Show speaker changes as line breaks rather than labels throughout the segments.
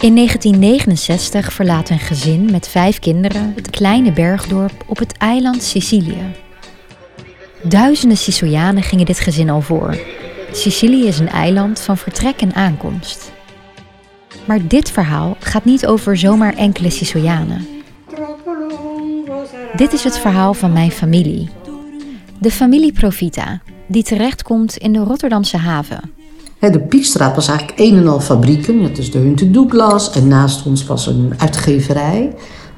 In 1969 verlaat een gezin met vijf kinderen het kleine bergdorp op het eiland Sicilië. Duizenden Sicilianen gingen dit gezin al voor. Sicilië is een eiland van vertrek en aankomst. Maar dit verhaal gaat niet over zomaar enkele Sicilianen. Dit is het verhaal van mijn familie. De familie Profita, die terechtkomt in de Rotterdamse haven.
Hè, De Piekstraat was eigenlijk een en al fabrieken. Dat is de Hunte Douglas. En naast ons was een uitgeverij.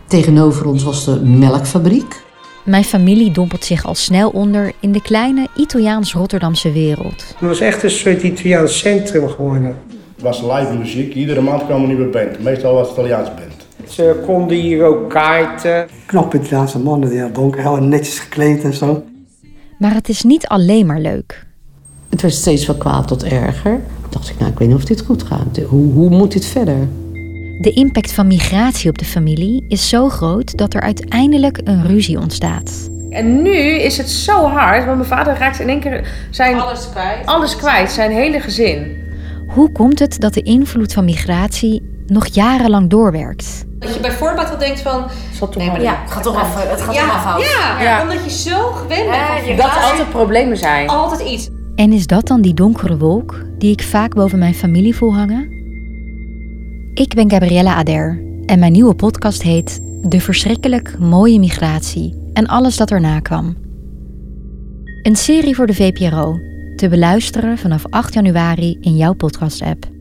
Tegenover ons was de melkfabriek.
Mijn familie dompelt zich al snel onder in de kleine Italiaans-Rotterdamse wereld.
Het was echt een soort Italiaans centrum geworden.
was live muziek. Iedere maand kwam een nieuwe band. Meestal was het Italiaans band.
Ze konden hier ook kaarten.
Knap Italiaanse mannen, die heel donker, heel netjes gekleed en zo.
Maar het is niet alleen maar leuk.
Het werd steeds van kwaad tot erger. Toen dacht ik, nou, ik weet niet of dit goed gaat. Hoe, hoe moet dit verder?
De impact van migratie op de familie is zo groot dat er uiteindelijk een ruzie ontstaat.
En nu is het zo hard, want mijn vader raakt in één keer zijn, alles, kwijt. alles kwijt, zijn hele gezin.
Hoe komt het dat de invloed van migratie nog jarenlang doorwerkt?
Dat je bij voorbaat al denkt van...
Zat toch
Nee, maar
wel-
ja, het gaat toch af, het gaat toch afhouden. Ja, omdat je zo gewend bent. van
Dat
vader.
er altijd problemen zijn.
altijd iets.
En is dat dan die donkere wolk die ik vaak boven mijn familie voel hangen? Ik ben Gabriella Ader en mijn nieuwe podcast heet De verschrikkelijk mooie migratie en alles dat erna kwam. Een serie voor de VPRO, te beluisteren vanaf 8 januari in jouw podcast-app.